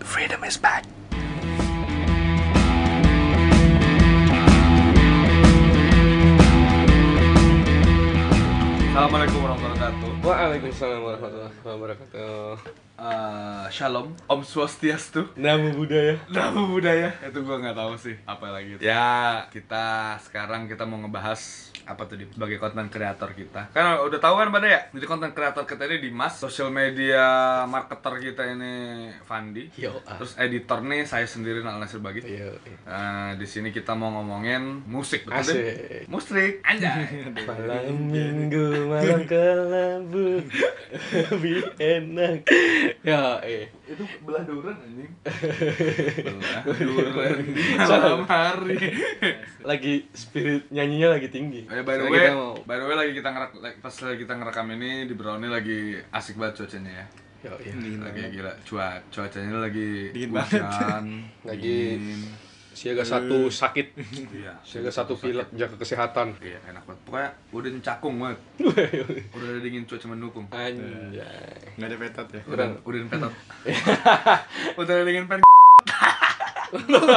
freedom is back. Assalamualaikum warahmatullahi wabarakatuh. Waalaikumsalam warahmatullahi wabarakatuh. Eh, shalom, Om Swastiastu, Namo Buddhaya. Nama budaya. Eh, Itu gua nggak tahu sih apa lagi. Itu. Ya, kita sekarang kita mau ngebahas apa tuh di sebagai konten kreator kita. Karena udah tahu kan pada ya. Jadi konten kreator kita ini Dimas, social media marketer kita ini Fandi. Yo, ah. Terus editor nih saya sendiri Nal Nasir Bagit. Yo. Eh, di sini kita mau ngomongin musik betul Asik. deh? Musik anjay. Malam minggu malam kelabu lebih enak. Ya, eh. itu belah duren anjing. belah duren di malam hari. Lagi spirit nyanyinya lagi tinggi. Eh, by the Soalnya way, kita mau by the way lagi kita ngerak, like, pas lagi kita ngerekam ini di Brownie lagi asik banget cuacanya ya. Yo, iya. Lagi gila cua cuacanya lagi Dingin banget. hujan, Lagi dingin. siaga satu sakit, Iya. siaga satu pilek jaga kesehatan. Iya, enak banget. Pokoknya udah cakung banget. udah dingin cuaca mendukung. Anjay. Nggak ada petot ya? Udah udah petot. udah dingin pen. Goblok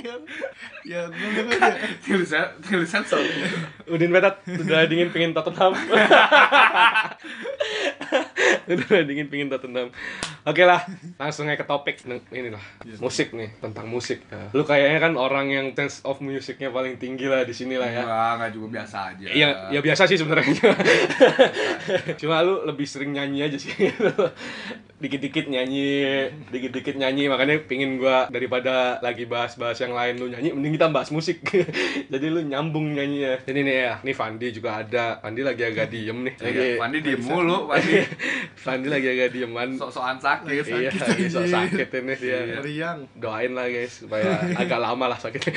ya. Ya, goblok ya. Tulisan tulisan soalnya. Udin Petat udah dingin pingin Tottenham. udah dingin pingin Tottenham. Oke lah, langsung aja ke topik Neng- ini lah. Musik nih, tentang musik. Ya. Lu kayaknya kan orang yang sense of musicnya paling tinggi lah di sini lah ya. Enggak, enggak juga biasa aja. Iya, ya biasa sih sebenarnya. Cuma lu lebih sering nyanyi aja sih. Dikit-dikit nyanyi, dikit-dikit nyanyi. Makanya pingin gua daripada lagi bahas-bahas yang lain lu nyanyi, mending kita bahas musik. Jadi lu nyambung nyanyinya. Ini nih ya, nih Fandi juga ada. Fandi lagi agak diem nih. Lagi, Iya, Wandi diem mulu, Wandi Fandi lagi agak dieman. sok-sokan sakit. Iya, lagi sok sakit ini dia. Meriang. Doain lah guys supaya agak lama lah sakitnya.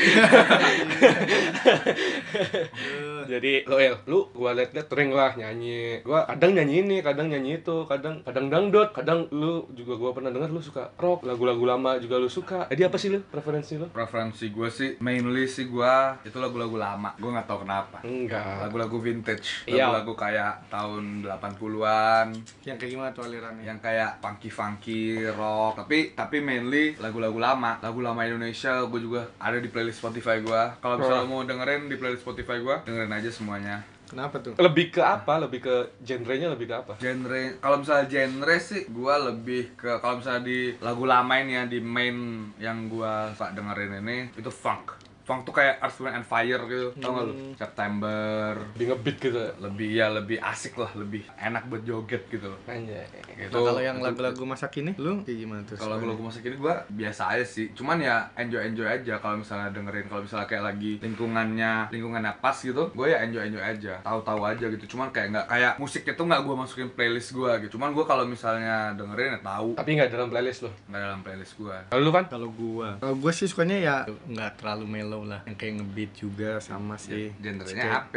Eh, Jadi lo El, lu gua liat-liat sering lah nyanyi. Gua kadang nyanyi ini, kadang nyanyi itu, kadang kadang dangdut, kadang lu juga gua pernah dengar lu suka rock, lagu-lagu lama juga lu suka. Jadi apa sih lu preferensi lu? preferensi gue sih mainly sih gue itu lagu-lagu lama gue nggak tahu kenapa Enggak. lagu-lagu vintage Iya. lagu-lagu kayak tahun 80-an Yang kayak gimana tuh alirannya? yang kayak funky funky rock tapi tapi mainly lagu-lagu lama lagu lama Indonesia gue juga ada di playlist Spotify gue kalau misalnya mau dengerin di playlist Spotify gue dengerin aja semuanya Kenapa tuh? Lebih ke apa? Lebih ke genrenya lebih ke apa? genre kalau misalnya genre sih gue lebih ke kalau misalnya di lagu lama ini ya di main yang gue suka dengerin ini itu funk funk tuh kayak Earth Wind and Fire gitu tau gak lu Hmm. September Lebih ngebeat gitu. lebih ya lebih asik lah lebih enak buat joget gitu loh Anjay. Gitu. Nah, kalau Itu- yang lagu-lagu masa kini, lu kayak gimana tuh? kalau lagu-lagu masa kini gue biasa aja sih cuman ya enjoy enjoy aja kalau misalnya dengerin kalau misalnya kayak lagi lingkungannya lingkungannya pas gitu gue ya enjoy enjoy aja tahu-tahu aja gitu cuman kayak nggak kayak musiknya tuh nggak gue masukin playlist gue gitu cuman gue kalau misalnya dengerin ya tahu Tapi enggak dalam playlist lu. nggak dalam playlist gue Kalau lu kan? Kalau gua, kalau gua sih sukanya ya nggak terlalu mellow lah, yang kayak ngebeat juga sama sih. genrenya Kayak- HP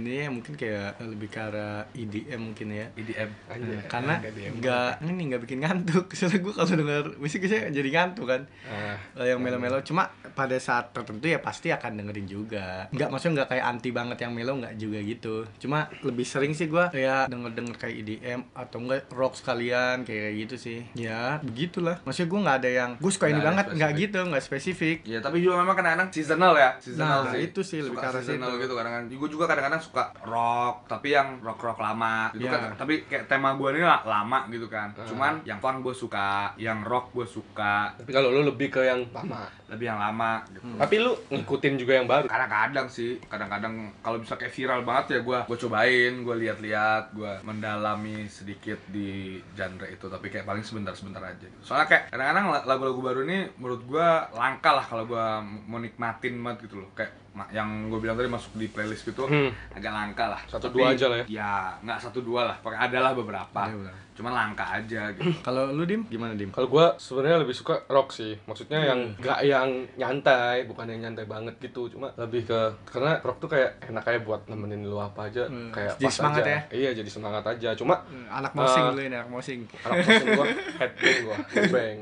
Ini ya mungkin kayak lebih ke arah EDM mungkin ya. EDM Anjay. karena nggak ini nggak bikin ngantuk soalnya gue kalau denger musik saya jadi ngantuk kan Ah. Eh, yang melo-melo cuma pada saat tertentu ya pasti akan dengerin juga nggak maksudnya nggak kayak anti banget yang melo nggak juga gitu cuma lebih sering sih gue kayak denger-denger kayak EDM atau enggak rock sekalian kayak gitu sih ya begitulah maksudnya gue nggak ada yang gue suka ini Nggak ada banget nggak spesifik. gitu nggak spesifik Iya, tapi juga memang kadang-kadang seasonal ya, seasonal Nah, itu sih lebih suka ke arah seasonal situ. gitu kadang-kadang. Gue juga kadang-kadang suka rock, tapi yang rock-rock lama gitu Iya. kan. Tapi kayak tema gue ini lah, lama gitu kan. Cuman yang funk gue suka, yang rock gue suka, Tapi kalau lu lebih ke yang lama. lebih yang lama gitu. Hmm. Tapi lu ngikutin juga yang baru. Kadang-kadang sih, kadang-kadang kalau bisa kayak viral banget ya gue gue cobain, gue lihat-lihat, gue mendalami sedikit di genre itu, tapi kayak paling sebentar-sebentar aja. gitu. Soalnya kayak kadang-kadang la- lagu-lagu baru ini menurut gue langka lah kalau gue mau nikmatin banget gitu loh, kayak ma- yang gue bilang tadi masuk di playlist gitu Hmm. agak langka lah. Satu Tapi, dua aja lah ya? Iya, Ya nggak satu dua lah, pokoknya adalah beberapa. Ada beberapa. Cuman langka aja gitu. kalau lu dim gimana dim Kalau gua sebenarnya lebih suka rock sih. Maksudnya yang Hmm. gak yang nyantai, bukan yang nyantai banget gitu. Cuma lebih ke karena rock tuh kayak enak aja buat nemenin lu apa aja, Hmm, kayak jadi pas semangat aja. ya? Iya, jadi semangat aja. Cuma Eh, anak mosing Eh. lu ini anak mosing rock maksud gua headbang gua, headbang.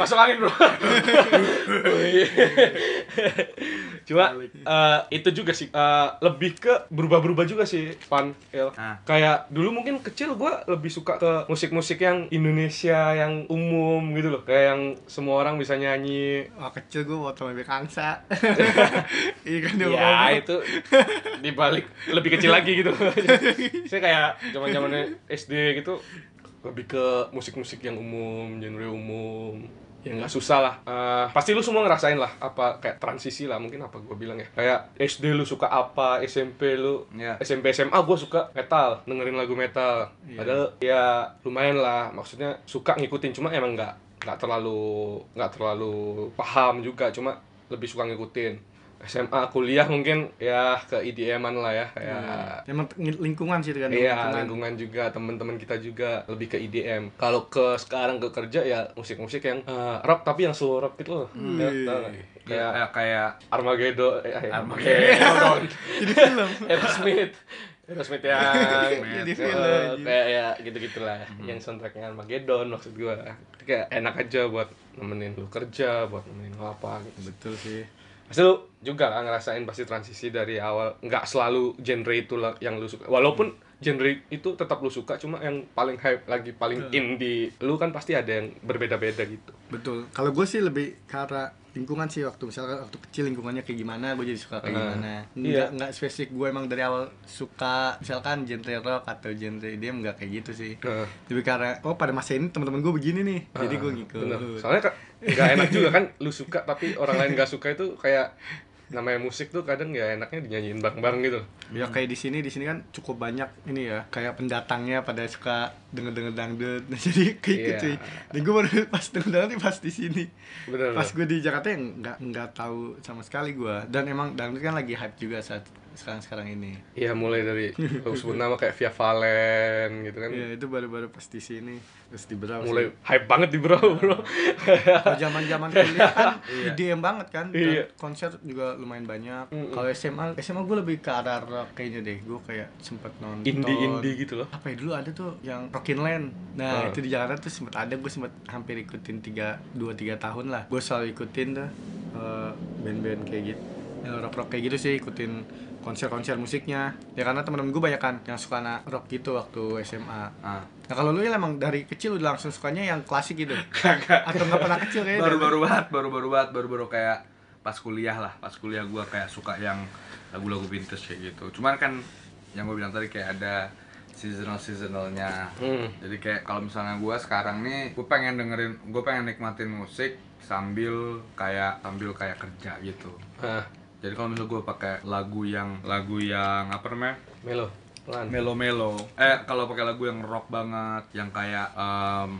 Masuk angin, Bro. Cuma eh, itu juga sih eh, lebih ke berubah-berubah juga sih Pan El. Ah. Kayak dulu mungkin kecil gua lebih suka ke musik-musik yang Indonesia yang umum gitu loh. Kayak yang semua orang bisa nyanyi. Wah kecil gue otomobil angsa Iya kan dia ngomong. Ya itu dibalik lebih kecil lagi gitu. Saya kayak zaman zamannya SD gitu lebih ke musik-musik yang umum, genre umum. Ya nggak susah lah. Eh, pasti lu semua ngerasain lah apa kayak transisi lah mungkin apa gue bilang ya. Kayak SD lu suka apa, SMP lu Iya. SMP SMA gue suka metal, dengerin lagu metal. Padahal ya lumayan lah, maksudnya suka ngikutin cuma emang nggak nggak terlalu nggak terlalu paham juga, cuma lebih suka ngikutin. SMA kuliah mungkin ya ke IDM-an lah ya kayak Emang t- lingkungan sih itu kan Iya, lingkungan. lingkungan juga, teman-teman kita juga lebih ke IDM. Kalau ke sekarang ke kerja ya musik-musik yang eh, rock tapi yang slow rock gitu loh. Ya, tau nggak? Kayak Kayak kayak Armageddon, eh, eh, Armageddon. Armageddon. Jadi film. Aerosmith Aerosmith yang Jadi eh, film, anjing. Hmm. kayak ya gitu-gitulah yang soundtracknya Armageddon maksud gua kayak enak aja buat nemenin lu kerja buat nemenin lu apa gitu Betul sih. pasti lu juga lah ngerasain pasti transisi dari awal nggak selalu genre itu lah yang lu suka walaupun genre itu tetap lu suka cuma yang paling hype lagi paling Hmm. in di lu kan pasti ada yang berbeda-beda gitu Betul. Kalau gue sih lebih ke arah lingkungan sih waktu misalkan waktu kecil lingkungannya kayak gimana gue jadi suka kayak Nah, gimana iya. nggak nggak spesifik gue emang dari awal suka misalkan genre rock atau genre IDM nggak kayak gitu sih Nah. lebih ke arah oh pada masa ini teman-teman gue begini nih jadi gue ngikut Ah, Bener. Soalnya ka- nggak enak juga kan lu suka tapi orang lain nggak suka itu kayak namanya musik tuh kadang nggak enaknya dinyanyiin bareng-bareng gitu. ya kayak di sini di sini kan cukup banyak ini ya kayak pendatangnya pada suka denger-denger dangdut jadi kayak Iya. gitu sih dan gue baru pas denger dangdut pas di sini Bener. pas gue di Jakarta yang nggak nggak tahu sama sekali gue dan emang dangdut kan lagi hype juga saat sekarang-sekarang ini Iya mulai dari lu sebut nama kayak Via Valen gitu kan. Iya itu baru-baru pas di sini terus di berapa Mulai hype banget di bro bro. zaman zaman kuliah kan IDM banget kan Dan Iya. konser juga lumayan banyak kalau SMA SMA gue lebih ke arah rock kayaknya deh gue kayak sempet nonton indie indie gitu loh. apa ya dulu ada tuh yang Rockin Land nah Ah. Oh. itu di Jakarta tuh sempet ada gue sempet hampir ikutin tiga dua tiga tahun lah gue selalu ikutin tuh eh, band-band kayak gitu rock rock kayak gitu sih ikutin konser-konser musiknya ya karena temen-temen gue banyak kan yang suka anak rock gitu waktu SMA ah. Nah kalau lu ya emang dari kecil udah langsung sukanya yang klasik gitu? Atau nggak pernah kecil kayaknya? baru-baru banget, baru-baru banget, baru-baru kayak pas kuliah lah, pas kuliah gua kayak suka yang lagu-lagu vintage kayak gitu. Cuman kan yang gue bilang tadi kayak ada seasonal seasonalnya. Hmm. Jadi kayak kalau misalnya gua sekarang nih, gue pengen dengerin, gue pengen nikmatin musik sambil kayak sambil kayak kerja gitu. Ah, Jadi kalau misalnya gue pakai lagu yang lagu yang apa namanya melo. Pelan. melo-melo eh kalau pakai lagu yang rock banget yang kayak em,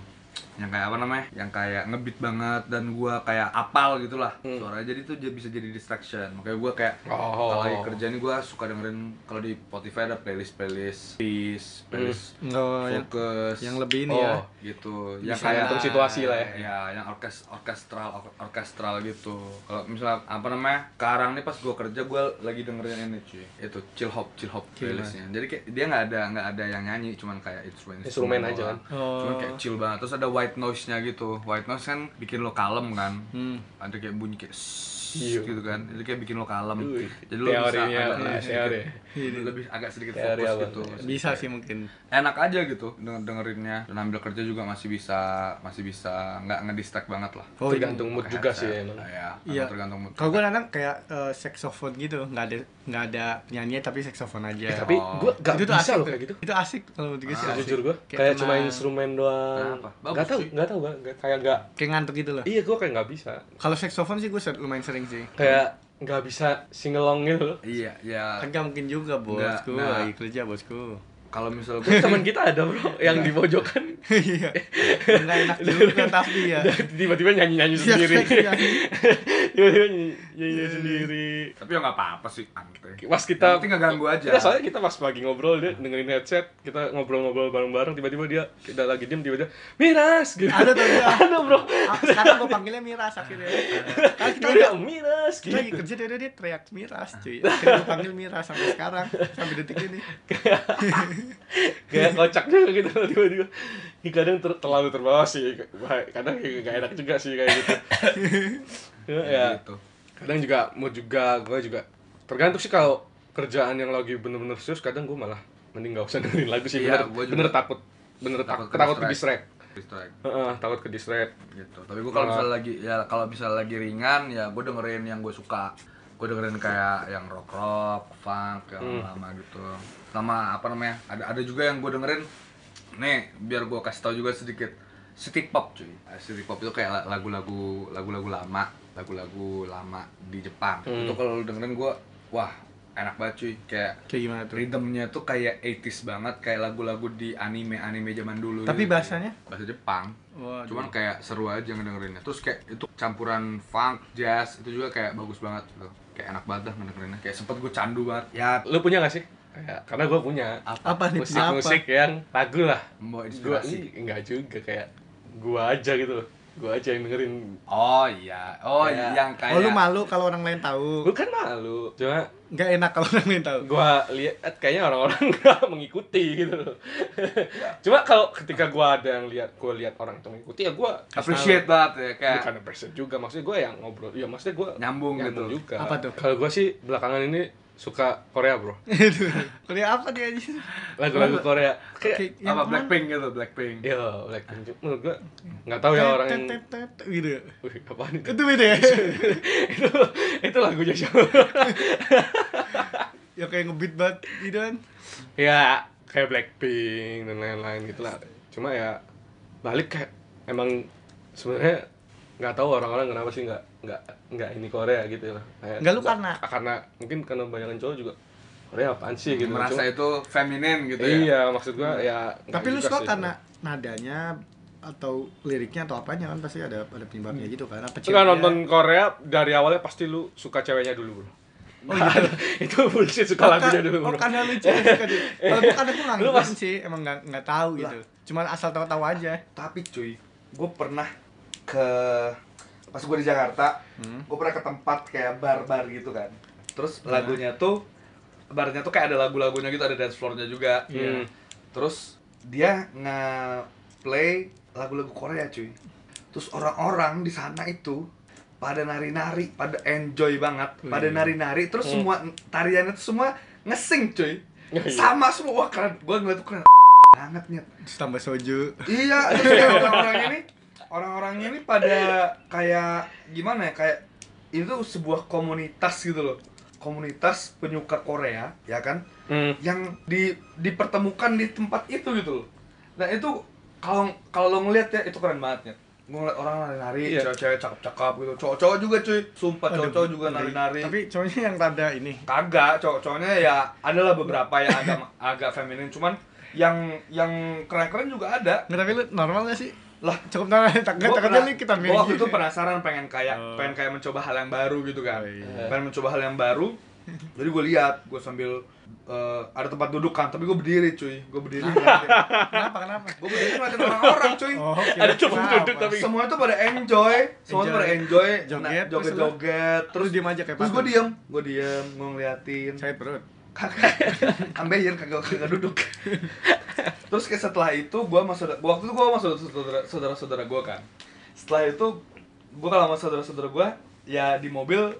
yang kayak apa namanya yang kayak ngebeat banget dan gua kayak apal gitulah lah suaranya jadi tuh dia bisa jadi distraction makanya gua kayak Oh. kalau lagi kerja nih gua suka dengerin kalau di Spotify ada playlist playlist playlist playlist Oh, yang, fokus yang lebih ini Oh. ya. gitu Bisa yang kayak ngatur situasi lah ya. ya yang orkes orkestral or- orkestral gitu kalau misalnya apa namanya sekarang nih pas gue kerja gue lagi dengerin ini cuy itu chill hop chill hop Chill, playlistnya jadi kayak dia nggak ada nggak ada yang nyanyi cuman kayak instrumen Instrumen aja kan? Oh. cuman kayak chill banget terus ada white noise nya gitu white noise kan bikin lo kalem kan Hmm. ada kayak bunyi kayak sss Iya. gitu kan jadi kayak bikin lo kalem Wih, jadi lo bisa teorinya, Iya, agak teori. sedikit, lebih agak sedikit Teori fokus apa? gitu Bisa sih mungkin. enak aja gitu denger dengerinnya dan ambil kerja juga masih bisa masih bisa nggak ngedistract banget lah Oh, iya. Tergantung mood juga sih emang. Nah, ya, Iya. emang tergantung mood Kalau gue kadang kayak eh, saxophone gitu, nggak ada nggak ada penyanyi tapi saxophone aja. Iya, Tapi gua gak itu tuh bisa asik loh tuh. kayak gitu. Ah, Itu asik kalau menurut gue sih. asik. Jujur gua kayak cuma tenang, instrumen doang. Kenapa? Bagus Gak tau, sih. gak tau gua nggak- kayak gak. kayak ngantuk gitu loh. Iya gua kayak nggak bisa. Kalau saxophone sih gue lumayan sering sih. Kayak nggak bisa singelong gitu loh. iya ya Kan nggak mungkin juga Nggak, bosku, nah. lagi kerja bosku. kalau misal gue Teman kita ada bro yang di pojokan Iya. Nggak enak juga tapi ya. tiba-tiba nyanyi-nyanyi Iya, sendiri. nyanyi. Tiba-tiba nyanyi-nyanyi sendiri. tapi ya nggak apa-apa sih santai Pas kita Yang penting nggak ganggu aja. Iya, soalnya kita pas pagi ngobrol dia dengerin headset, kita ngobrol-ngobrol bareng-bareng tiba-tiba dia tidak lagi diem tiba-tiba Miras gitu. Ada tuh dia. Ada bro. Ah, Sekarang gue panggilnya Miras akhirnya. Kita Kan kita nggak- dia Miras Kita lagi gitu. kerja dia, dia, dia teriak miras cuy Akhirnya gue panggil miras sampai sekarang Sampai detik ini Kayak kocak juga gitu tiba-tiba. Ih, kadang ter- terlalu terbawa sih. Wah, Kadang kayak nggak enak juga sih kayak gitu. Cuma ya, gitu kadang juga mood juga gue juga tergantung sih kalau kerjaan yang lagi bener-bener serius kadang gue malah mending gak usah dengerin lagu sih Iya, bener, gua juga. bener takut bener Takut takut ke takut ke distract. distract Distract Heeh, takut ke distract gitu. Tapi gue kalau Nah. misalnya lagi ya kalau misalnya lagi ringan ya gue dengerin yang gue suka. Gue dengerin kayak yang rock rock, funk, yang lama gitu. Sama apa namanya? Ada ada juga yang gue dengerin nih biar gue kasih tau juga sedikit city pop cuy. Eh, City pop itu kayak lagu-lagu lagu-lagu lama, lagu-lagu lama di Jepang. Itu kalau lu dengerin gue wah enak banget cuy kayak Kayak gimana tuh? Rhythmnya tuh kayak 80s banget, kayak lagu-lagu di anime-anime zaman dulu. Tapi gitu. bahasanya? Bahasa Jepang. Waduh. Cuman kayak seru aja ngedengerinnya. Terus kayak itu campuran funk, jazz, itu juga kayak bagus banget gitu. Kayak enak banget dah ngedengerinnya. Kayak sempet gue candu banget. Ya, lu punya gak sih kayak karena gue punya Apa nih? musik Apa? musik yang lagu lah Membawa gue inspirasi. enggak juga kayak gue aja gitu loh gue aja yang dengerin Oh iya. Oh Kayak- yang kayak Oh lu malu kalau orang lain tahu. gue kan malu cuma Nggak enak kalau orang lain tahu. gua lihat kayaknya orang-orang nggak mengikuti gitu loh cuma kalau ketika gua ada yang lihat gua lihat orang itu mengikuti ya gua Iya. kasih appreciate banget ya tahu. kayak bukan person juga maksudnya gua yang ngobrol ya maksudnya gua Nyambung gitu. juga Apa tuh? kalau gua sih belakangan ini suka Korea bro Kali apa dia aja? lagu-lagu Korea kayak apa Kayak yang Blackpink gitu, Blackpink. yo Blackpink Cuma menurut gua nggak tahu ya tet, orang yang tet, tet, tet, gitu. Wih, apaan itu? Itu beda ya. itu itu lagunya siapa? ya kayak ngebeat banget gitu kan. ya kayak Blackpink dan lain-lain gitu lah cuma ya balik kayak emang sebenarnya nggak tahu orang-orang kenapa sih nggak nggak nggak ini Korea gitu loh kayak Nggak, lu karena- karena mungkin karena banyak cowok juga Korea apaan sih gitu Merasa Cuma- itu feminin gitu ya. iya maksud gua ya nggak Tapi lu juga suka sih. karena nadanya atau liriknya atau apanya kan pasti ada ada penyebabnya gitu kan. Lu nggak Apa ceweknya? nonton Korea dari awalnya pasti lu suka ceweknya dulu bro Oh, iya. itu bullshit suka lagunya Kan- dulu Oh bro karena lu cewek suka dia. Kalau bukan aku nggak Lu ngerti pas- sih, emang nggak nggak tahu gitu. Cuman asal tahu-tahu aja. tapi cuy gue pernah ke pas gue di Jakarta gue pernah ke tempat kayak bar-bar gitu kan terus lagunya tuh barnya tuh kayak ada lagu-lagunya gitu ada dance floor-nya juga Iya. terus dia nge play lagu-lagu Korea cuy terus orang-orang di sana itu pada nari-nari pada enjoy banget pada nari-nari terus semua tariannya tuh semua ngesing cuy Iya. sama semua keren gue ngeliat tuh keren banget nyet Terus tambah soju. Iya, terus kayak orang-orang ini orang-orang ini pada kayak gimana ya? Kayak itu sebuah komunitas gitu loh. Komunitas penyuka Korea, ya kan? Hmm. Yang di dipertemukan di tempat itu gitu loh. Nah, itu kalau kalau lo ngeliat ya itu keren banget ya. Gue ngeliat orang nari-nari, Iya. cewek-cewek cakep-cakep gitu. Cowok-cowok juga cuy. Sumpah cowok-cowok juga nari-nari. Tapi cowoknya yang rada ini. Kagak, cowok-cowoknya ya adalah beberapa yang agak agak feminin, cuman yang yang keren-keren juga ada. Nggak tapi lu normal gak sih? Lah, Cukup normal. Tak Gua takutnya pernah- lu kita gua waktu itu penasaran pengen kayak Oh. pengen kayak mencoba hal yang baru gitu kan Oh, iya. pengen mencoba hal yang baru jadi gue lihat gue sambil eh, ada tempat duduk kan tapi gue berdiri cuy gue berdiri Kenapa kenapa? gue berdiri ngeliatin orang-orang cuy Oh, Ada tempat duduk tapi- semuanya tuh pada enjoy semuanya tuh pada enjoy Joget, joget joget terus terus diem aja kayak terus gue patung. diem gue diem gue ngeliatin Saya perut. ambeien kagak kagak duduk terus kayak setelah itu gua sama saudara gua- waktu itu gua sama saudara saudara saudara gua kan setelah itu gua kalau sama saudara saudara gua ya di mobil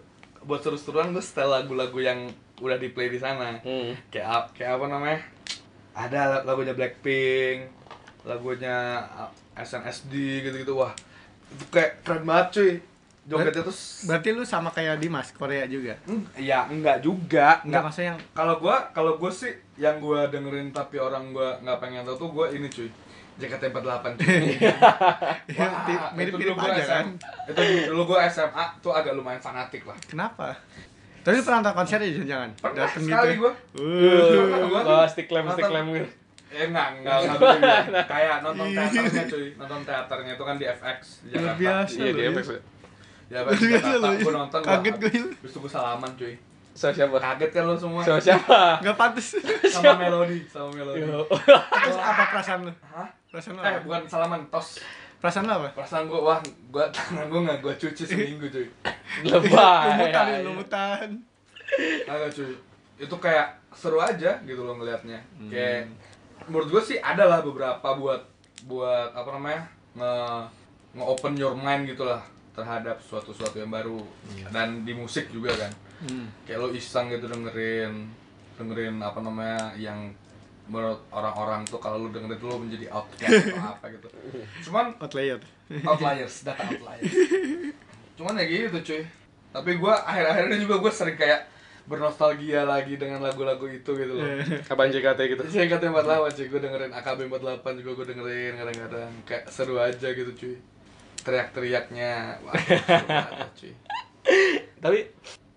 buat seru-seruan gua setel lagu-lagu yang udah di play di sana Hmm. kayak ap- kayak apa namanya ada lagunya Blackpink lagunya uh, SNSD gitu-gitu wah itu kayak keren banget cuy jogetnya tuh s- Berarti lu sama kayak Dimas Korea juga. Eng- ya enggak juga Enggak maksudnya yang kalau gua kalau gua sih yang gua dengerin tapi orang gua nggak pengen tahu tuh gua ini cuy JKT48 cuy. ya, Wah, ti- itu mirip-mirip dulu gua aja kan. SM Itu dulu gua SMA tuh agak lumayan fanatik lah. Kenapa? Tapi lu pernah nonton konser ya jangan? Pernah Dateng sekali gitu. gua. Uh. Gua Wah, tuh Oh, stick lamp, stick nonton- lamp gitu. Eh enggak, enggak, enggak boleh bilang. ya. Kayak nonton teaternya cuy. Nonton teaternya itu kan di FX di Iya. Jakarta. Iya, Luar biasa Iya, lu, dia ya. maksudnya. Di FX di Luar biasa Jakarta. lu, ya. Gua nonton Kaget gua, Yul. Terus gua salaman cuy. Sama siapa? Kaget kan lo semua Sama siapa? Enggak pantas. sama melodi, sama melodi. Yo. Terus apa perasaan lu? Hah? Perasaan lu Eh, apa? bukan salaman, tos. Perasaan lu apa? perasaan gue wah gue tangan gue nggak gue cuci seminggu cuy Lumutan, Lebay. lumutan. kagak cuy itu kayak seru aja gitu loh ngelihatnya kayak menurut gue sih ada lah beberapa buat buat apa namanya nge nge open your mind gitulah terhadap suatu-suatu yang baru dan di musik juga kan Hmm. kayak lo iseng gitu dengerin dengerin apa namanya yang menurut orang-orang tuh kalau lo dengerin tuh lo menjadi outcast atau apa gitu cuman Outlayer. outliers data outliers cuman ya gitu cuy tapi gua akhir-akhir ini juga gue sering kayak bernostalgia lagi dengan lagu-lagu itu gitu loh Iya. Kapan JKT gitu? saya kata 48 cuy gue dengerin AKB 48 juga gue dengerin kadang-kadang kayak seru aja gitu cuy teriak-teriaknya wah seru banget, cuy Tapi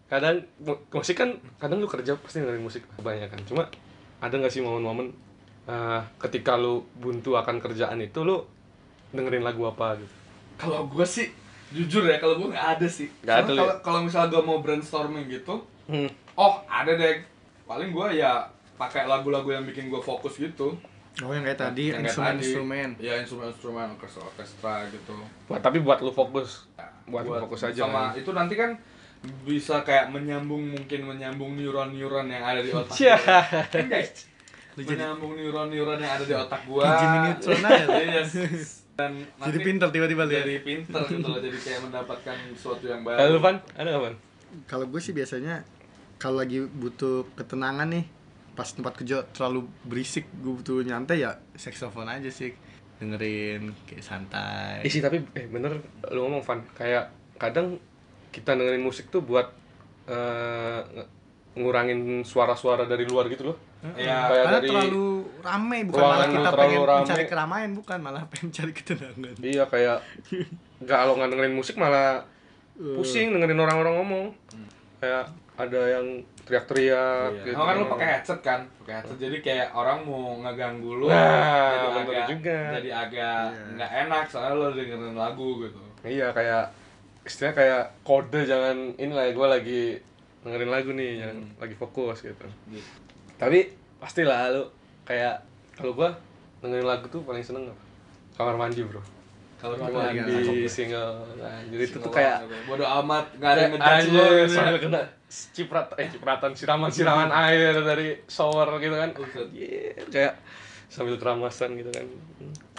kadang mu- musik kan kadang lu kerja pasti dengerin musik kebanyakan. Cuma ada nggak sih momen-momen eh, ketika lu buntu akan kerjaan itu lu dengerin lagu apa gitu? kalau gue sih jujur ya kalau gue nggak ada sih Nggak ada Soalnya lu ya? kalau kalau misalnya gue mau brainstorming gitu Hmm. oh ada deh paling gue ya pakai lagu-lagu yang bikin gue fokus gitu Oh yang kayak tadi Yang kayak tadi. instrumen-instrumen. ya instrumen-instrumen orkestra orkestra gitu Buat, tapi buat lu fokus. Nah, Buat lu fokus aja sama kan. itu nanti kan bisa kayak menyambung mungkin menyambung neuron-neuron yang ada di otak Cia. gua. Iya, Lu jadi- menyambung neuron-neuron yang ada di otak gua Jimmy Neutron aja lu. Iya, dan Jadi nanti pinter tiba-tiba lu ya. jadi pinter gitu loh jadi kayak mendapatkan sesuatu yang Kalau lu baru Iya. Van, ada nggak Van? Kalau gue sih biasanya kalau lagi butuh ketenangan nih, pas tempat kerja terlalu berisik, gue butuh nyantai ya saxophone aja sih dengerin kayak santai. Isi tapi eh bener lu ngomong Van kayak kadang kita dengerin musik tuh buat eh, nge- ngurangin suara-suara dari luar gitu loh. ya Kayak Karena dari- terlalu ramai bukan ruangan malah lu kita terlalu pengen ramai. mencari keramaian bukan malah pengen cari ketenangan. Iya kayak nggak kalau nggak dengerin musik malah pusing dengerin orang-orang ngomong. Kayak ada yang teriak-teriak Iya. gitu. Emang kan lu pakai headset kan? Pakai headset jadi kayak orang mau ngeganggu lu. Nah, jadi bener agak juga. jadi agak Iya. nggak enak soalnya lu dengerin lagu gitu. Iya kayak istilahnya kayak kode jangan ini lah gue lagi dengerin lagu nih jangan lagi fokus gitu. Gitu. Tapi pastilah lu kayak kalau gua dengerin lagu tuh paling seneng apa? Kamar mandi, Bro. Kalau Kamar kita mandi iya. single. Anjir itu tuh Single kayak banget, bodo amat nggak ada yang ngejudge lu Anjir, gitu ya. iya. sambil kena ciprat eh cipratan siraman siraman air dari shower gitu Oh, kan Buset. Anjir, kayak sambil keramasan gitu kan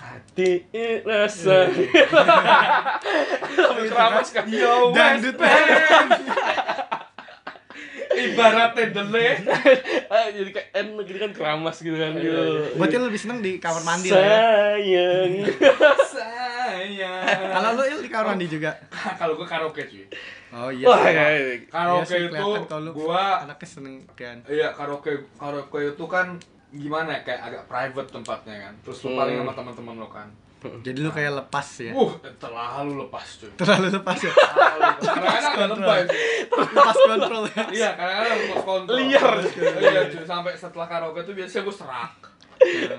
hati ini rasa Iya. sambil keramas kan yo Dangdut. ibaratnya delay jadi kayak N gitu kan keramas gitu kan gitu Iya, Berarti lu lebih seneng di kamar mandi lah ya. sayang sayang Kalau lu Il, di kamar mandi juga. kalau gua karaoke cuy Oh iya. wah sih. ya, ya. karaoke Iya sih, itu kelihatan kalau lu- gua anaknya seneng kan. Iya karaoke karaoke itu kan gimana ya kayak agak private tempatnya kan. Terus lu paling sama teman-teman lu kan. Jadi lu kayak lepas ya. Uh, terlalu lepas cuy. Terlalu lepas ya. Terlalu lepas. Kadang-kadang agak lebay. cuy. Lepas kontrol ya. Iya, kadang-kadang lepas kontrol. Liar. Iya cuy, sampai setelah karaoke tuh biasanya gua serak.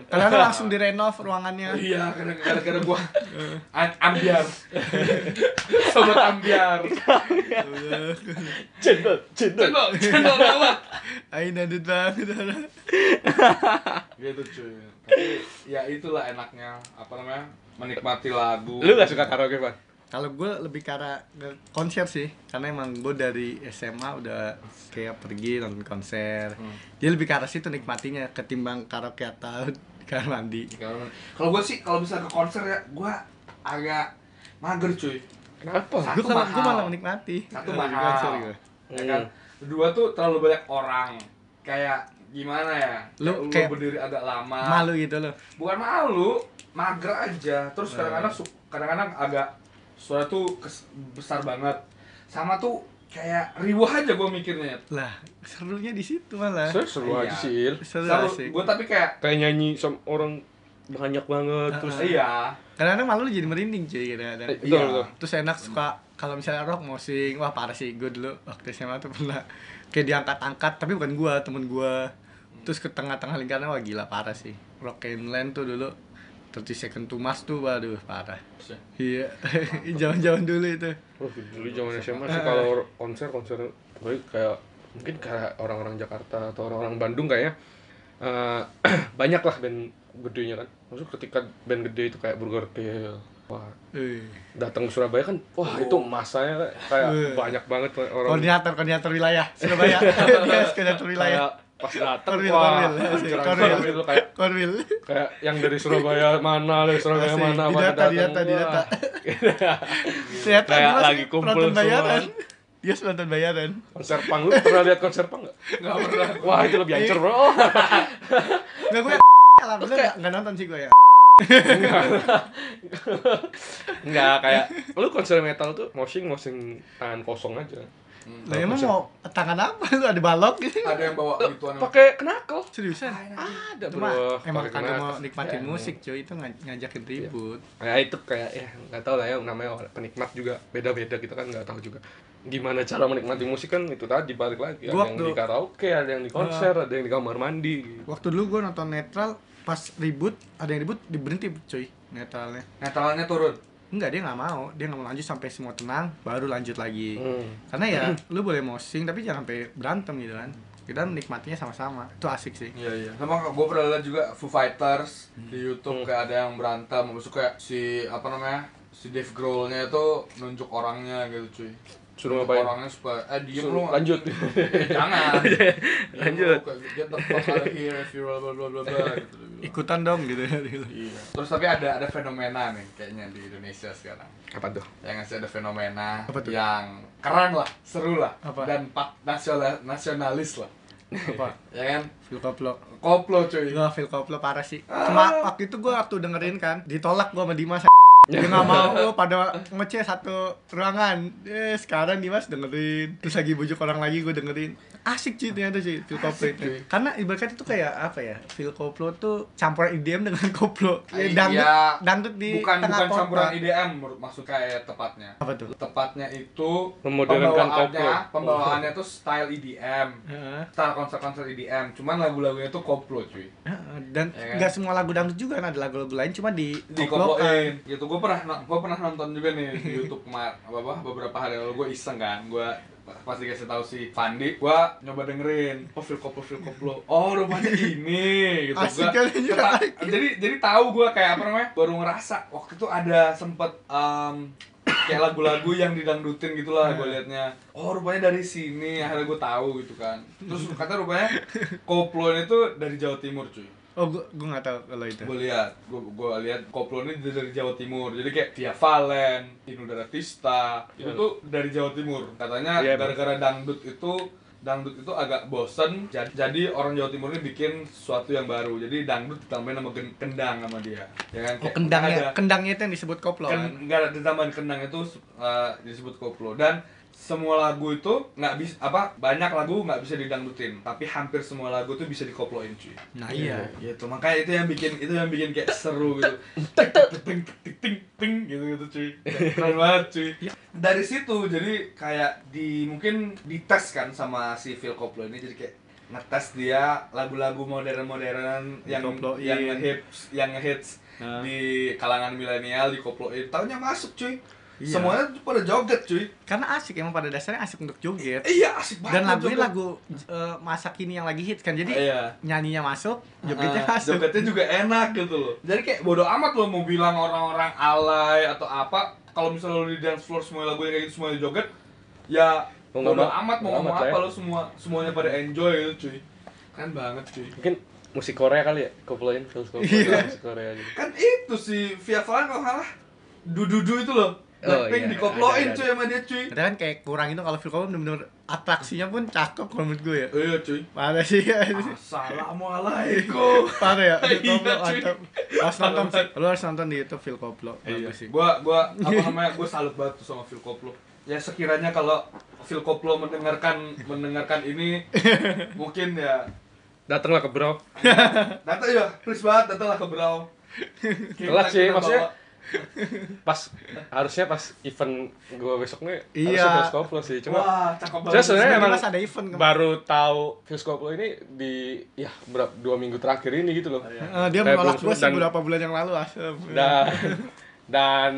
Karena langsung direnov ruangannya. Iya, kadang-kadang gua a- ambiar. Sobat ambiar. cendol cendol Cendol, cendol lewat. Ayo dangdut banget. Gitu cuy. Tapi ya itulah enaknya apa namanya? Menikmati lagu. lu gak suka karaoke pak Kalau gue lebih ke arah ke konser sih, karena emang gue dari SMA udah kayak pergi nonton konser. Jadi lebih ke arah situ nikmatinya ketimbang karaoke atau di kamar mandi. Kalau gue sih kalau bisa ke konser ya gue agak mager cuy. kenapa Gue Satu malah, gua mahal. malah menikmati. Satu Kalau di mahal. konser gua. Ya kan? Hmm. Kedua tuh terlalu banyak orang. Kayak gimana ya? Lu Kayak kayak- berdiri agak lama. Malu gitu loh. Bukan malu, mager aja. Nah. Terus kadang-kadang su- kadang-kadang agak suara tuh kes- besar banget. Sama tuh kayak riuh aja gue mikirnya. Lah, serunya di situ malah. seru seru Iya. aja sih Il. Seru asik. gue tapi kayak kayak nyanyi sama orang banyak banget terus iya. Kadang-kadang malu jadi merinding cuy kadang-kadang. Iya, Eh, betul, betul. Terus enak suka kalau misalnya rock mosing, wah parah sih gue dulu waktu SMA tuh pernah kayak diangkat-angkat tapi bukan gua, temen gua. Terus ke tengah-tengah lingkaran wah gila parah sih. Rock Inland tuh dulu 30 second to Mars tuh waduh parah. ya? Iya, jaman-jaman dulu itu. Wah, dulu zaman SMA sih kalau konser konser baik kayak mungkin kayak orang-orang Jakarta atau orang-orang Bandung kayaknya eh, banyak lah band gedenya kan. Maksud ketika band gede itu kayak Burger Kill, wah Eh, datang ke Surabaya kan, wah itu masanya kayak Eh. banyak banget orang Koordinator koordinator wilayah Surabaya. Dia koordinator wilayah. kayak pas datang Korwil, wah Korwil. Asik, keren Korwil. banget lu kayak Korwil. kayak yang dari Surabaya mana dari Surabaya Asik, mana pada didata, datang, didata, wah. didata. Sehat Kayak lagi kumpul nonton semua. bayaran. Dia yes, nonton bayaran. konser pang lu pernah lihat konser pang nggak Nggak pernah. wah itu lebih hancur bro Iya. Enggak gue alhamdulillah nggak- nggak nonton sih gue ya. Enggak, kayak lu konser metal tuh moshing moshing tangan kosong aja. Lah emang mau tangan apa lu ada balok gitu. Ada yang Ah, bawa gituan. Pakai kenakel. Seriusan? Ah, Ada, Cuma Bro. emang Pakai kagak mau kenakel. nikmatin musik cuy itu ngaj- ngajakin ribut. Ya itu kayak ya nggak tahu lah ya namanya orang- penikmat juga beda-beda kita kan nggak tahu juga gimana cara menikmati musik kan itu tadi balik lagi ada Gua yang waktu- di karaoke ada yang di konser Ah. ada yang di kamar mandi gitu. Waktu dulu gue nonton netral pas ribut ada yang ribut diberhenti cuy netralnya. Netralnya turun. Enggak dia nggak mau dia nggak mau lanjut sampai semua tenang baru lanjut lagi. Hmm. Karena ya lu boleh mosing tapi jangan sampai berantem gitu kan. Kita menikmatinya sama-sama itu asik sih. Iya iya. Sama gue pernah lihat juga Foo Fighters Hmm. di YouTube kayak ada yang berantem, maksud kayak si apa namanya si Dave Grohl-nya itu nunjuk orangnya gitu cuy. Suruh Nunjuk ngapain? Orangnya supaya eh diem Suruh lu. lanjut. Eh, jangan. Iya, Diem Lanjut. lu, Iya, kayak, Get the fuck out of here if you blah blah blah blah, blah gitu. dia bilang. Ikutan dong gitu. gitu. Iya. Terus tapi ada ada fenomena nih kayaknya di Indonesia sekarang. Apa tuh? Yang ngasih ada fenomena Apa tuh? yang keren lah, seru lah, Apa? dan pak nasional nasionalis lah. Apa? Ya kan? Feel koplo. Koplo cuy. Gua feel koplo parah sih. Cuma Ah. waktu itu gua waktu dengerin kan ditolak gua sama Dimas. Dia nggak mau gua pada ngece satu ruangan. Eh sekarang Dimas dengerin. Terus lagi bujuk orang lagi gua dengerin. Asik cuy ternyata cuy feel koplo Asik, itu. cuy. Karena ibaratnya itu kayak apa ya? Feel koplo tuh campuran IDM dengan koplo. Ya, Iya. dangdut, dangdut di bukan tengah bukan kota. campuran IDM menurut maksud kayak tepatnya Apa tuh? tepatnya itu Memodernkan koplo. pembawaannya pembawaannya tuh style EDM Heeh. style konser-konser EDM cuman lagu-lagunya tuh koplo cuy Heeh, dan Ya kan? nggak semua lagu dangdut juga kan ada lagu-lagu lain cuma di koplokan. dikoploin gitu gue pernah gue pernah nonton juga nih di YouTube kemarin apa apa beberapa hari lalu gue iseng kan gue pas dikasih tahu si Fandi gue nyoba dengerin oh feel koplo feel koplo oh rupanya ini gitu Asik Gua- kan, anjir, keta- asik. jadi jadi tahu gue kayak apa namanya baru ngerasa waktu itu ada sempet em, kayak lagu-lagu yang didangdutin gitu lah Iya. gue liatnya oh rupanya dari sini akhirnya gue tahu gitu kan terus kata rupanya koplo itu dari Jawa Timur cuy Oh, gua gua nggak tahu kalau itu. gue lihat gue gue lihat koplo ini dari Jawa Timur jadi kayak Via Valen Inul Daratista itu Iya. tuh dari Jawa Timur katanya Iya, gara-gara dangdut itu dangdut itu agak bosen jadi, jadi orang Jawa Timur ini bikin sesuatu yang baru jadi dangdut ditambahin sama gen- kendang sama dia ya kan Oh, Kayak kendangnya, ada- kendangnya itu yang disebut koplo kan. Ken, enggak ada ditambahin kendang itu uh, disebut koplo dan semua lagu itu nggak bisa apa banyak lagu nggak bisa didangdutin tapi hampir semua lagu itu bisa dikoploin cuy Nah, iya. gitu makanya itu yang bikin itu yang bikin kayak seru gitu Tek, tek, tek, ting, tik, ting, ting, gitu gitu cuy keren banget cuy dari situ jadi kayak di mungkin dites kan sama si Phil Koplo ini jadi kayak ngetes dia lagu-lagu modern-modern yang Dikoploin. yang ngehits yang ngehits Nah. di kalangan milenial dikoploin tahunya masuk cuy Iya. semuanya tuh pada joget cuy Karena asik emang pada dasarnya asik untuk joget. iya asik banget Dan joget. lagunya lagu eh, masa kini yang lagi hits kan. Jadi Iya. nyanyinya masuk, jogetnya Ah, masuk. jogetnya juga enak gitu loh jadi kayak bodo amat lo mau bilang orang-orang alay atau apa kalau misalnya lo di dance floor semua lagunya kayak gitu semuanya joget ya Mau bodo ngomong- amat mau mau ngomong amat lah apa ya. lo semua semuanya pada enjoy gitu cuy kan banget cuy Mungkin musik Korea kali ya koploin terus Iya. koploin musik Korea gitu. kan itu si Via Valen kalau nggak salah dududu itu loh Oh, Blackpink iya. dikoploin Ada, ada, cuy sama dia cuy Ada kan kayak kurang itu kalau Phil Koplo bener-bener atraksinya pun cakep kalau menurut gue ya. iya cuy Parah sih ya. Assalamualaikum Parah ya, Phil Iya, Koplo cuy. mantap. Harus nonton Parah sih. Lu harus nonton di YouTube Phil Koplo. Iya. Bagus sih. Gua gua apa namanya? Gua salut banget tuh sama Phil Koplo. Ya sekiranya kalau Phil Koplo mendengarkan mendengarkan ini mungkin ya Datanglah ke bro. datang ya, please banget datanglah ke Brau. Telat sih, maksudnya pas harusnya pas event gua besoknya Iya. harusnya pas koplo sih. Cuma Wah, cakep banget. Cuma sebenarnya Tiba-tiba emang ada event kemarin. baru tahu Vioskop lo ini di ya berapa dua minggu terakhir ini gitu loh. Eh, dia Kayak menolak Iya. belum- gue sih dan- beberapa bulan yang lalu asem. Iya. Dan dan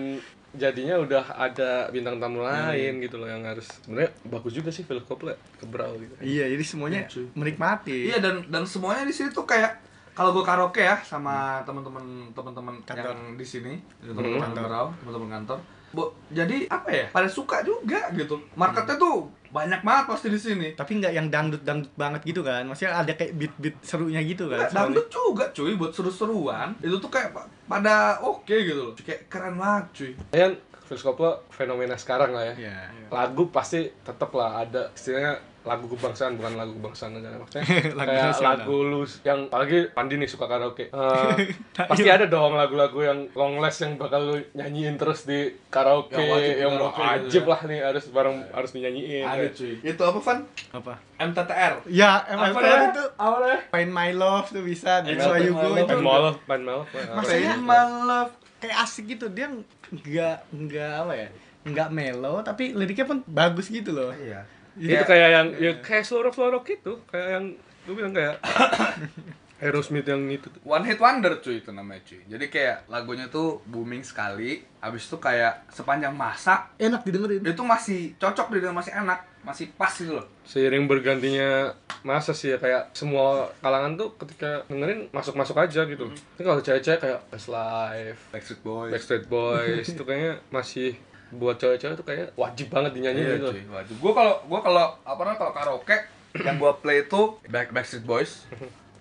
jadinya udah ada bintang tamu lain Hmm. gitu loh yang harus sebenarnya bagus juga sih Vioskop lo kebrau gitu. Iya, jadi semuanya Iya, cuy. menikmati. Iya dan dan semuanya di sini tuh kayak kalau gue karaoke ya sama teman-teman teman-teman Hmm. Kantor. Hmm. yang di sini, teman-teman Kantor. Hmm. kantor, teman-teman kantor. Bo- jadi apa ya? Pada suka juga gitu. Marketnya tuh banyak banget pasti di sini. Tapi nggak yang dangdut-dangdut banget gitu kan. Maksudnya ada kayak beat-beat serunya gitu kan. Nggak, soalnya. dangdut juga cuy buat seru-seruan itu tuh kayak pa- pada oke gitu loh kayak keren banget cuy Kalian Virus Koplo fenomena sekarang lah ya. Iya. Lagu pasti tetap lah ada istilahnya lagu kebangsaan bukan lagu kebangsaan aja maksudnya Lagu kayak nasional. lagu lu yang apalagi Pandi nih suka karaoke Eh, Iya. pasti ada dong lagu-lagu yang long last yang bakal lu nyanyiin terus di karaoke Yang wajib di yang karaoke wajib gitu ya. lah nih harus bareng harus dinyanyiin ada cuy Iya, itu apa Van? Apa? MTTR Ya, apa MFR ya? itu apa ya? Pain My Love tuh bisa, That's Why You Go Pain My itu Pan Molof, Pan Molof. Maksudnya- Pain My Love kayak asik gitu. Dia nggak nggak apa ya? Nggak melo tapi liriknya pun bagus gitu loh. iya itu kayak yang ya, kayak slow rock slow rock gitu kayak yang lu bilang kayak Aerosmith yang itu tuh. One Hit Wonder cuy itu namanya cuy Jadi kayak lagunya tuh booming sekali Abis itu kayak sepanjang masa Enak didengerin. Itu masih cocok di dalam masih enak Masih pas gitu loh seiring bergantinya masa sih ya kayak semua kalangan tuh ketika dengerin masuk masuk aja gitu tapi kalau cewek-cewek kayak Westlife Backstreet Boys Backstreet Boys itu kayaknya masih buat cewek-cewek tuh kayak wajib banget dinyanyi Iya gitu cuy, wajib. Gue kalau gue kalau apa namanya kalau karaoke yang gue play itu Back Backstreet Boys.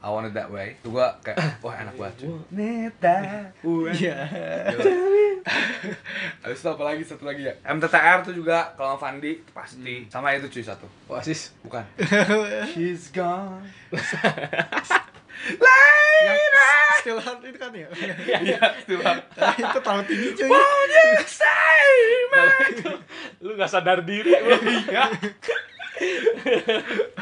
I want it that way. Itu gue kayak wah enak banget. cuy. Need that way. Iya. Habis itu apa lagi satu lagi ya? Hmm. MTTR tuh juga kalau sama Fandi itu pasti sama itu cuy satu. Oasis Bukan. She's gone. Yang Still Heart itu kan ya. Iya, itu Bang. itu terlalu tinggi cuy. lu gak sadar diri lu Iya.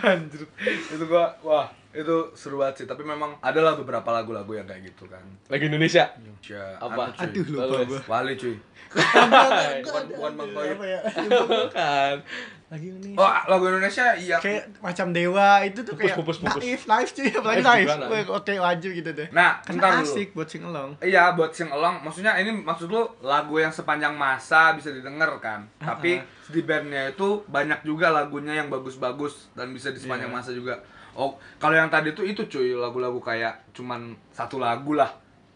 Anjir. Itu gua wah, itu seru banget sih, tapi memang adalah beberapa lagu-lagu yang kayak gitu kan. lagi Indonesia Ya, Apa? anu, cuy. Aduh lupa Bagus. gua. Wali cuy. bukan bukan Bang Toyib. Apa ya? bukan Lagi ini. Oh, lagu Indonesia iya. Kayak macam dewa itu tuh Pupus, kayak pupus, pupus. naif, naif cuy, apalagi Naif naif. juga, naif. Wah, Oke, wajib gitu deh. Nah, Karena bentar dulu. asik buat sing along. Iya, buat sing along. Maksudnya ini maksud lu lagu yang sepanjang masa bisa didengar kan. Tapi di bandnya itu banyak juga lagunya yang bagus-bagus dan bisa di sepanjang Iya. masa juga. Oh, kalau yang tadi tuh itu cuy lagu-lagu kayak cuman satu lagu lah.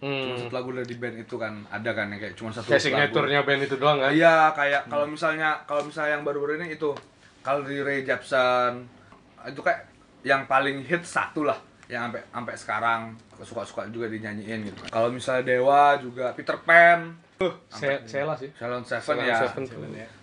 Cuma hmm. satu lagu dari band itu kan ada kan yang kayak cuman satu kayak lagu. signaturnya band itu doang kan Iya, kayak kalau misalnya kalau misalnya yang baru-baru ini itu kalau di Ray Jepsen itu kayak yang paling hit satu lah yang sampai sampai sekarang suka-suka juga dinyanyiin gitu. Kalau misalnya Dewa juga Peter Pan, saya saya lah sih Salon Seven Salon ya. Seven tuh.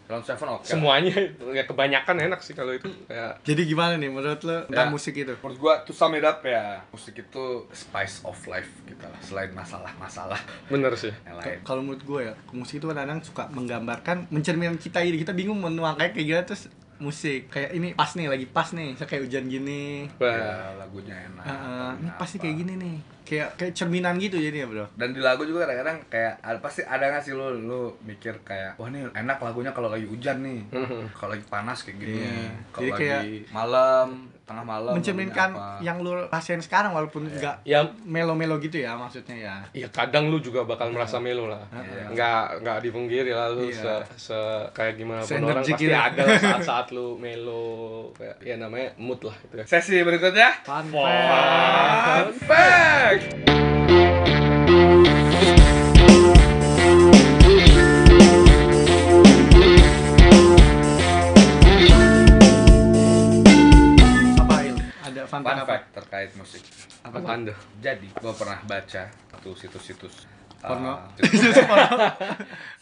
Salon Seven oke. semuanya ya kebanyakan enak sih kalau itu Ya, kayak Jadi gimana nih menurut lo tentang Ya. musik itu? Menurut gua to sum it up ya, musik itu spice of life gitu lah. Selain masalah-masalah bener sih yang lain. Kalau menurut gue ya, musik itu kadang-kadang suka menggambarkan, mencerminkan kita ini. Kita bingung menuangkannya kayak gimana terus musik. Kayak ini pas nih, lagi pas nih. Saya kayak hujan gini. Wah. Ya, lagunya enak. Ah, ah, ini lagunya pasti apa. kayak gini nih. Kayak kayak cerminan gitu jadi ya, Bro. dan di lagu juga kadang-kadang kayak ada- pasti ada nggak sih lu lu mikir kayak wah ini enak lagunya kalau lagi hujan nih kalau lagi panas kayak gini Iya. kalau Jadi lagi kayak- malam tengah malam mencerminkan lagunya apa. Iya. yang lu rasain sekarang walaupun nggak ya melo-melo gitu ya maksudnya ya. ya kadang lu juga bakal merasa melo lah Iya. nggak nggak dipungkiri lah lu Iya. se, se- kayak gimana pun orang Se-energi pasti gitu. ada lah saat-saat lu melo kayak ya namanya mood lah gitu kan sesi berikutnya Fun fun fact Apa Il? Ada fun, fun fact apa? fact terkait musik apa Apa tuh? anda jadi gua pernah baca satu situs-situs uh, Porno. situs- Itu porno.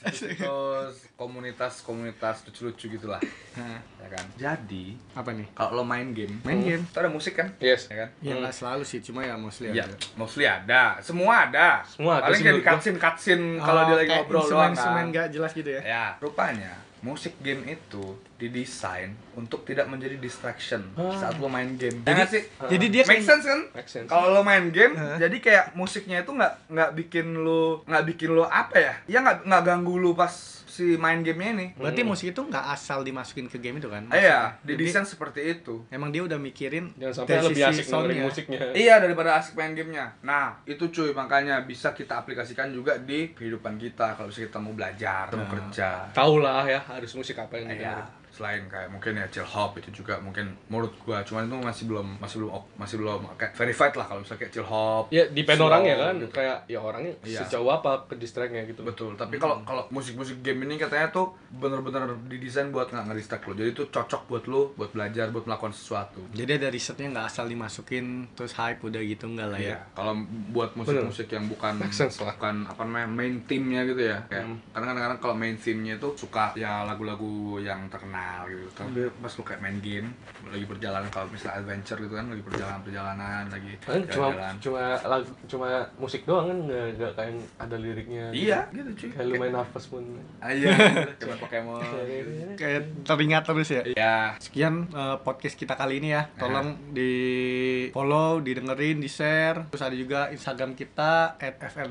situs komunitas-komunitas lucu-lucu gitulah Nah, ya kan jadi apa nih? kalau lo main game Main game. itu ada musik kan yes ya kan Ya nggak selalu sih, cuma ya mostly Iya, ada. mostly ada. Semua ada. Semua ada Paling sih jadi menurut gua. katsin katsin kalau dia lagi ngobrol doang Instrumen kan. nggak jelas Oh, gitu ya. Ya, rupanya musik game itu didesain untuk tidak menjadi distraction saat lo main game. Jadi sih, Ah. Jadi dia make kayak- Ah. sense kan? Make sense. Kalau lo main game, Hah? jadi kayak musiknya itu nggak nggak bikin lo nggak bikin lo apa ya? Ya nggak nggak ganggu lo pas si main gamenya ini. Berarti musik itu nggak asal dimasukin ke game itu kan? Hmm. Iya, Jadi, didesain seperti itu. Emang dia udah mikirin jangan sampai lebih asik dengerin musiknya Iya daripada asik main gamenya. Nah itu cuy makanya bisa kita aplikasikan juga Nah. di kehidupan kita kalau misalnya kita mau belajar, mau kerja. tahu lah ya harus musik apa Iya. yang didengerin selain kayak mungkin ya chill hop itu juga mungkin menurut gua cuman itu masih belum masih belum ok- masih belum kayak verified lah kalau misalnya kayak chill hop ya depend slow orangnya kan gitu. kayak ya orangnya Iya. sejauh apa ke distract-nya gitu betul tapi kalau kalau musik-musik game ini katanya tuh bener-bener didesain buat nggak ngeristack lo jadi itu cocok buat lo buat belajar buat melakukan sesuatu Jadi ada risetnya nggak asal dimasukin terus hype udah gitu nggak lah Iya. ya. Kalau buat musik-musik yang bukan Make sense lah. bukan apa namanya main timnya gitu ya. Kayak, Karena kadang-kadang kalau main timnya itu suka ya lagu-lagu yang terkenal gitu. Tapi pas lu kayak main game, lagi berjalan kalau misalnya adventure gitu kan, lagi perjalanan-perjalanan, lagi kan cuma jalan-jalan. cuma lagu cuma musik doang kan nggak nggak kayak ada liriknya Iya, gitu cuy. kayak lu main nafas pun Ah, Iya, kayak Pokemon. gitu. Kayak teringat terus ya. Iya. Sekian eh, podcast kita kali ini ya. Tolong di follow, didengerin, di share. Terus ada juga Instagram kita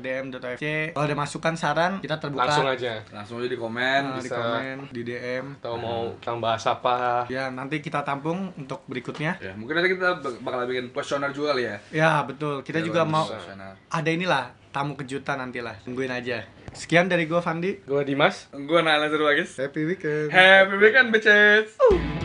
@frdm.fc. Kalau ada masukan, saran, kita terbuka. langsung aja Langsung aja di komen. Nah, di Bisa. komen, di DM. atau mau tambah apa Ya nanti kita tampung untuk berikutnya. Ya, mungkin nanti kita bak- bakal bikin kuesioner juga kali ya. Iya. Ya betul. Kita juga Bakal mau bikin kuesioner. ada inilah tamu kejutan nantilah. Tungguin aja. Sekian dari gua Fandi. gue Dimas Gue Nana Zerwagis. Happy weekend. Happy weekend, bitches!